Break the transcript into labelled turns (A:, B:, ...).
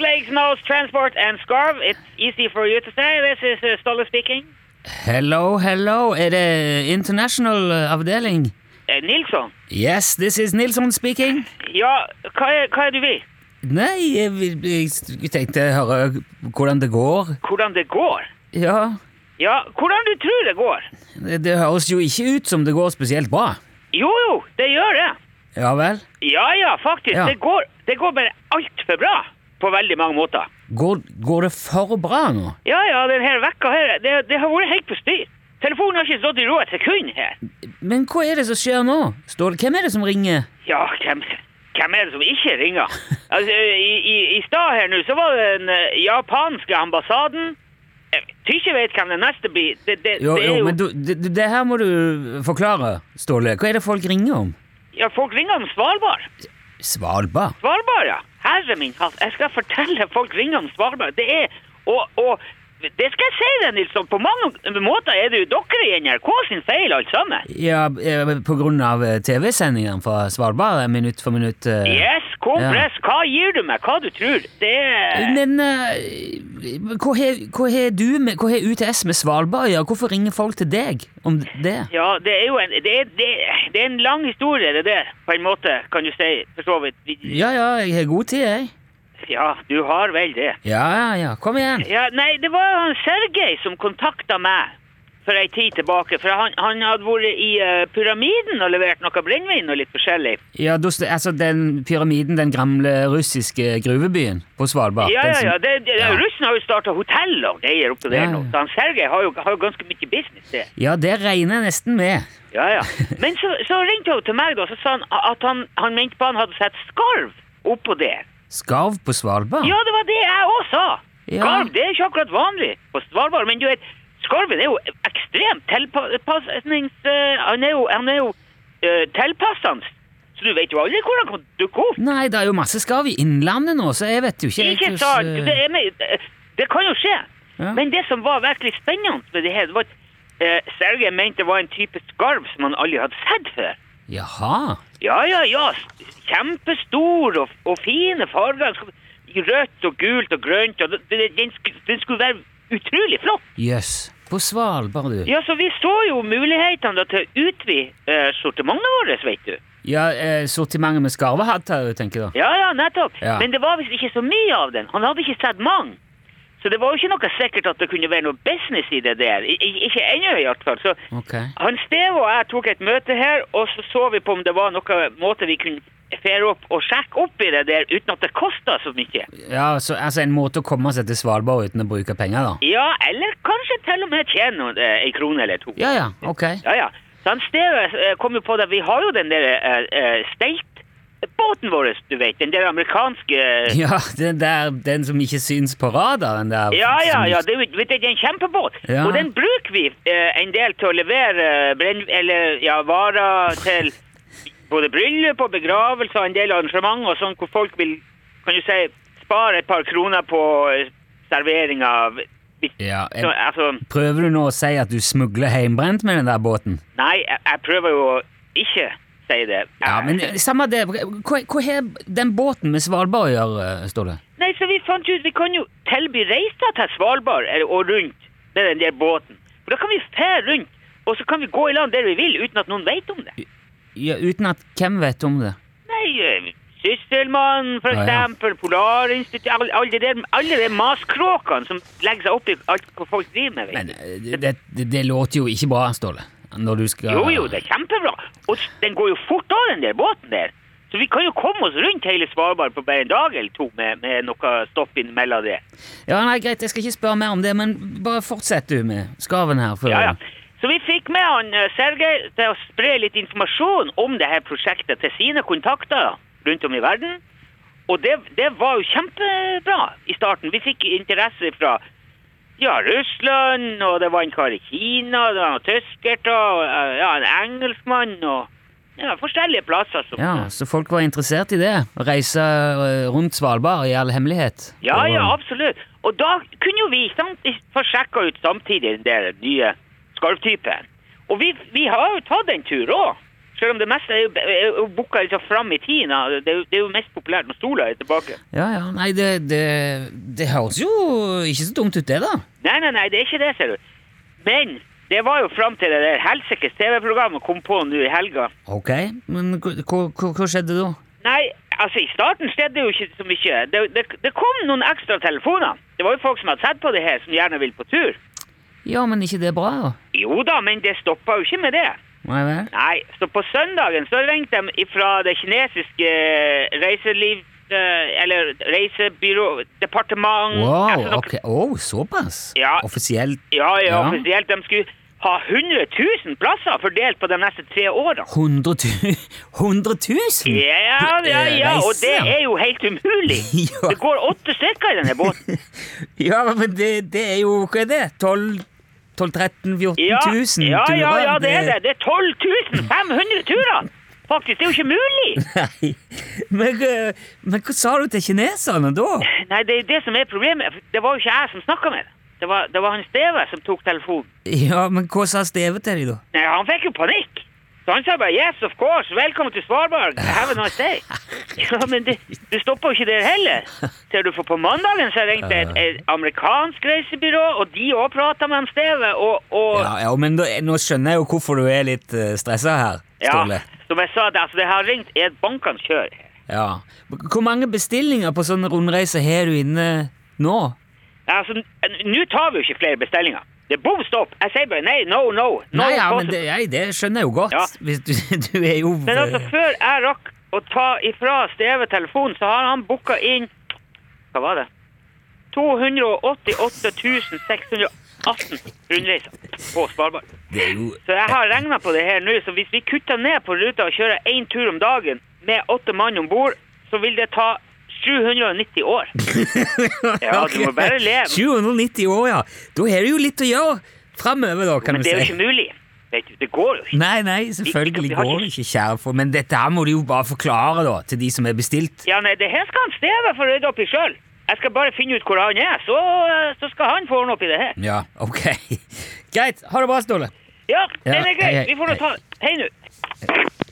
A: legs, nose, transport and scarf. It's easy for you to say. This is uh, Stolle speaking.
B: Hello, hello. Er det international eh, avdeling?
A: Eh, Nilsson?
B: Yes, this is Nilsson speaking.
A: Ja, hva er, hva er det du vil?
B: Nei, jeg, vil- jeg tenkte å høre hvordan det går.
A: Hvordan det går?
B: Ja,
A: Ja, hvordan du tror det går?
B: det det høres jo ikke ut som det går spesielt bra.
A: Jo, jo, det gjør det.
B: Ja vel?
A: Ja, ja, faktisk.
B: Ja.
A: Det, går, det går bare altfor bra på veldig mange måter.
B: Går, går det for bra nå?
A: Ja, ja, denne vekka her, det, det har vært helt på styr. Telefonen har ikke stått i ro et sekund her.
B: Men hva er det som skjer nå? Står det, hvem er det som ringer?
A: Ja, hvem, hvem er det som ikke ringer? Altså, I i, i stad her nå så var det den eh, japanske ambassaden. Jeg tror ikke jeg vet hvem den neste blir. Det, det,
B: Jo,
A: det er
B: jo,
A: jo,
B: men du, det, det- det her må du forklare, Ståle. Hva er det folk ringer om?
A: ja, folk ringer om Svalbard.
B: Svalbard?
A: Svalbard, ja. Herre min hatt, jeg skal fortelle folk ringer om Svalbard. Det er Og, og det skal jeg si deg, Nilsson. På mange måter er det jo dere i NRK sin feil, alt sammen.
B: Ja, eh, på grunn av eh, TV-sendingen fra Svalbard, eh, minutt for minutt. eh.
A: Yes, kompress. Hva gir du meg? Hva du tror? Det er
B: Men eh, hva har- hva har du med, hva har UTS med Svalbard å gjøre? Hvorfor ringer folk til deg om det?
A: Ja, det er jo en, det er, det, det er en lang historie, det der, på en måte, kan du si, for så vidt. Vi-
B: Ja, ja, jeg har god tid, jeg.
A: Ja, du har vel det.
B: Ja, ja, ja, kom igjen.
A: Ja, nei, det var han Sergej som kontakta meg for ei tid tilbake, for han, han hadde vært i eh, Pyramiden og levert noe brennevin og litt forskjellig.
B: Ja, du, altså den pyramiden, den gamle russiske gruvebyen på Svalbard.
A: Ja,
B: den
A: ja,
B: som-
A: ja, det, det,
B: Ja.
A: Russen har jo starta hotell og greier oppå
B: Ja,
A: der
B: ja.
A: nå, så han Sergej har jo, har jo ganske mye business der.
B: Ja, det regner jeg nesten med.
A: Ja, ja. Men så, så ringte hun til meg, da, så sa han at han, han mente på han hadde sett skarv oppå der.
B: Skarv på Svalbard?
A: Ja, det var det jeg òg sa.
B: Ja.
A: Skarv det er ikke akkurat vanlig på Svalbard. Men du vet, skarven er jo ekstremt tilpasnings... eh, han er jo, han er jo eh, tilpassende. Så du vet jo aldri hvor han kan dukke opp.
B: Nei, det er jo masse skarv i Innlandet nå, så jeg vet jo ikke
A: Ikke
B: hvordan-
A: sant? Det, er med, eh, det kan jo skje.
B: Ja.
A: Men det som var virkelig spennende med det her, det var at uh, Sergej mente det var en type skarv som han aldri hadde sett før.
B: Jaha.
A: Ja, ja, ja. Kjempestor og, og fine farger. Den skulle- i Rødt og gult og grønt. Og det- det- den, sk- den skulle være utrolig flott.
B: Jøss. På Svalbard, du.
A: Ja, så vi så jo mulighetene da til å utvide eh, sortimentet vårt, vet du.
B: Ja, eh, sortimentet med skarvehatt har jeg jo, tenker jeg da.
A: Ja, ja, nettopp.
B: Ja.
A: Men det var visst ikke så mye av den. Han hadde ikke sett mange. Så det var jo ikke noe sikkert at det kunne være noe business i det der. I, i- ikke ennå, i hvert fall. Så
B: Ok.
A: Han Steve og jeg tok et møte her, og så så vi på om det var noen måte vi kunne fære opp og sjekke opp i det der uten at det kosta så mye.
B: Ja, så, altså en måte å komme seg til Svalbard uten å bruke penger, da.
A: Ja, eller kanskje til og med tjene noen, eh, en krone eller to.
B: Ja, ja, ok.
A: Ja, ja. Så han Steve eh, kom jo på det. Vi har jo den der eh, eh, steiltbåten vår, du vet. Den der amerikanske eh,
B: Ja, den der, den som ikke syns på radaren der.
A: Ja, ja,
B: som-
A: ja. Det, er jo- vet du, det er en kjempebåt.
B: Ja.
A: Og den bruker vi eh, en del til å levere eh, brenn... Eller, ja, varer til både bryllup og begravelser, en del arrangement og sånn, hvor folk vil, kan du si, spare et par kroner på eh, servering av
B: Ja,
A: Så,
B: jeg,
A: altså,
B: prøver du nå å si at du smugler heimbrent med den der båten?
A: nei, jeg, jeg prøver jo å ikke si det.
B: Ja, men eh, samme det. Hva hva har den båten med Svalbard å gjøre, eh, Ståle?
A: Nei, så vi fant ut vi kan jo tilby reiser til Svalbard eller, og rundt med den der båten. For da kan vi fære rundt, og så kan vi gå i land der vi vil uten at noen vet om det.
B: Ja, uten at hvem vet om det?
A: Nei, eh, Sysselmannen, for
B: Ja, ja.
A: eksempel, Polarinstituttet, alle alle de der- alle de maskråkene som legger seg opp i alt hva folk driver med. vet
B: Men
A: du.
B: eh, det, det, det låter jo ikke bra, Ståle. Når du skal
A: Jo, jo, det er kjempebra. Og s- den går jo fort av, den der båten der. Så vi kan jo komme oss rundt hele Svalbard på bare en dag eller to med, med noe stopp innimellom det.
B: Ja, nei, Greit, jeg skal ikke spørre mer om det, men bare fortsett du med skarven her. For...
A: Ja, ja. Så vi fikk med han eh, Sergej til å spre litt informasjon om det her prosjektet til sine kontakter rundt om i verden. Og det, det var jo kjempebra i starten. Vi fikk interesse fra ja, Russland, og det var en kar i Kina, det var en tysker, og eh, ja, en engelskmann, og ja, forskjellige plasser. Som,
B: Ja, Så folk var interessert i det? Å reise eh, rundt Svalbard i all hemmelighet?
A: Ja,
B: Og-
A: ja, absolutt. Og da kunne jo vi samt, få sjekka ut samtidig den der nye skarvtypen. Og vi, vi har jo tatt en tur òg. Selv om det meste er jo, er jo booka liksom fram i tid. da. Det er, jo, det er jo mest populært når sola er tilbake.
B: Ja, ja. Nei, det, det, det høres jo ikke så dumt ut, det, da.
A: Nei, nei, nei, det er ikke det, ser du. Men det var jo fram til det der helsikes TV-programmet kom på nå i helga.
B: Ok, men hva, hva- hva, hva skjedde da?
A: Nei, altså i starten skjedde jo ikke så mye. Det, det, det kom noen ekstra telefoner. Det var jo folk som hadde sett på det her, som gjerne vil på tur.
B: Ja, men ikke det er bra, da?
A: Jo da, men det stoppa jo ikke med det.
B: Nei vel?
A: Nei, så på søndagen så ringte de fra det kinesiske reiseliv... eh, Eller reisebyrå... Departement...
B: Wow,
A: altså noe-
B: ok. Oh, såpass?
A: Ja.
B: Offisielt
A: Ja, ja,
B: Ja.
A: offisielt. De skulle ha 100 000 plasser fordelt på de neste tre årene.
B: 100 000? 100 000?
A: Ja, ja, eh, ja, og det er jo helt umulig.
B: Ja.
A: Det går åtte stykker i denne båten.
B: Ja, men det, det er jo Hva er det? 12 12 13 14
A: Ja,
B: 000
A: ja, ja,
B: turer?
A: ja, det er det. Det er 12 500 turer! Faktisk, det er jo ikke mulig!
B: Nei. Men, eh, men hva sa du til kineserne da?
A: Nei, det er jo det som er problemet. Det var jo ikke jeg som snakka med dem. Det var, det var han Steve som tok telefonen.
B: Ja, men hva sa Steve til dem, da?
A: Nei, han fikk jo panikk. Så han sa bare 'yes, of course, velkommen til Svalbard, have a nice day'. Ja, Men det, du stopper jo ikke der heller. Ser du, for på mandagen så ringte et, et amerikansk reisebyrå, og de òg prata med han Steve, og, og
B: Ja, ja men da, nå skjønner jeg jo hvorfor du er litt uh, stressa her, Ståle.
A: som jeg sa, det, altså, det har ringt et bankene kjør.
B: Ja. Hvor mange bestillinger på sånne rundreiser har du inne nå?
A: Altså, n- nå tar vi jo ikke flere bestillinger. Det er bom stopp. Jeg sier bare nei, no, no. no
B: Nei, ja, men
A: possible.
B: det, nei, det skjønner jeg jo godt.
A: Ja.
B: Hvis du, du er jo
A: Men altså, før jeg rakk å ta ifra Steve telefonen, så har han booka inn Hva var det? 288 618 rundreiser på Svalbard.
B: Det er jo
A: Så jeg har regna på det her nå, så hvis vi kutter ned på ruta og kjører én tur om dagen med åtte mann om bord, så vil det ta 790 år. Ja, du må bare leve.
B: 790 år, ja. Da har du jo litt å gjøre framover, da, kan
A: Men
B: du
A: det er jo
B: si.
A: ikke mulig. Vet du, det går jo ikke.
B: Nei, nei, selvfølgelig
A: Vi har
B: går det ikke, kjære for Men dette her må du jo bare forklare, da, til de som er bestilt.
A: Ja, nei, det her skal han Steve få rydda opp i sjøl. Jeg skal bare finne ut hvor han er, så, så skal han få ordne opp i det her.
B: Ja, ok. Greit. Ha det bra, Ståle.
A: Ja, den
B: Ja,
A: er grei.
B: hei, hei,
A: Vi får nå
B: hei.
A: ta Hei nå.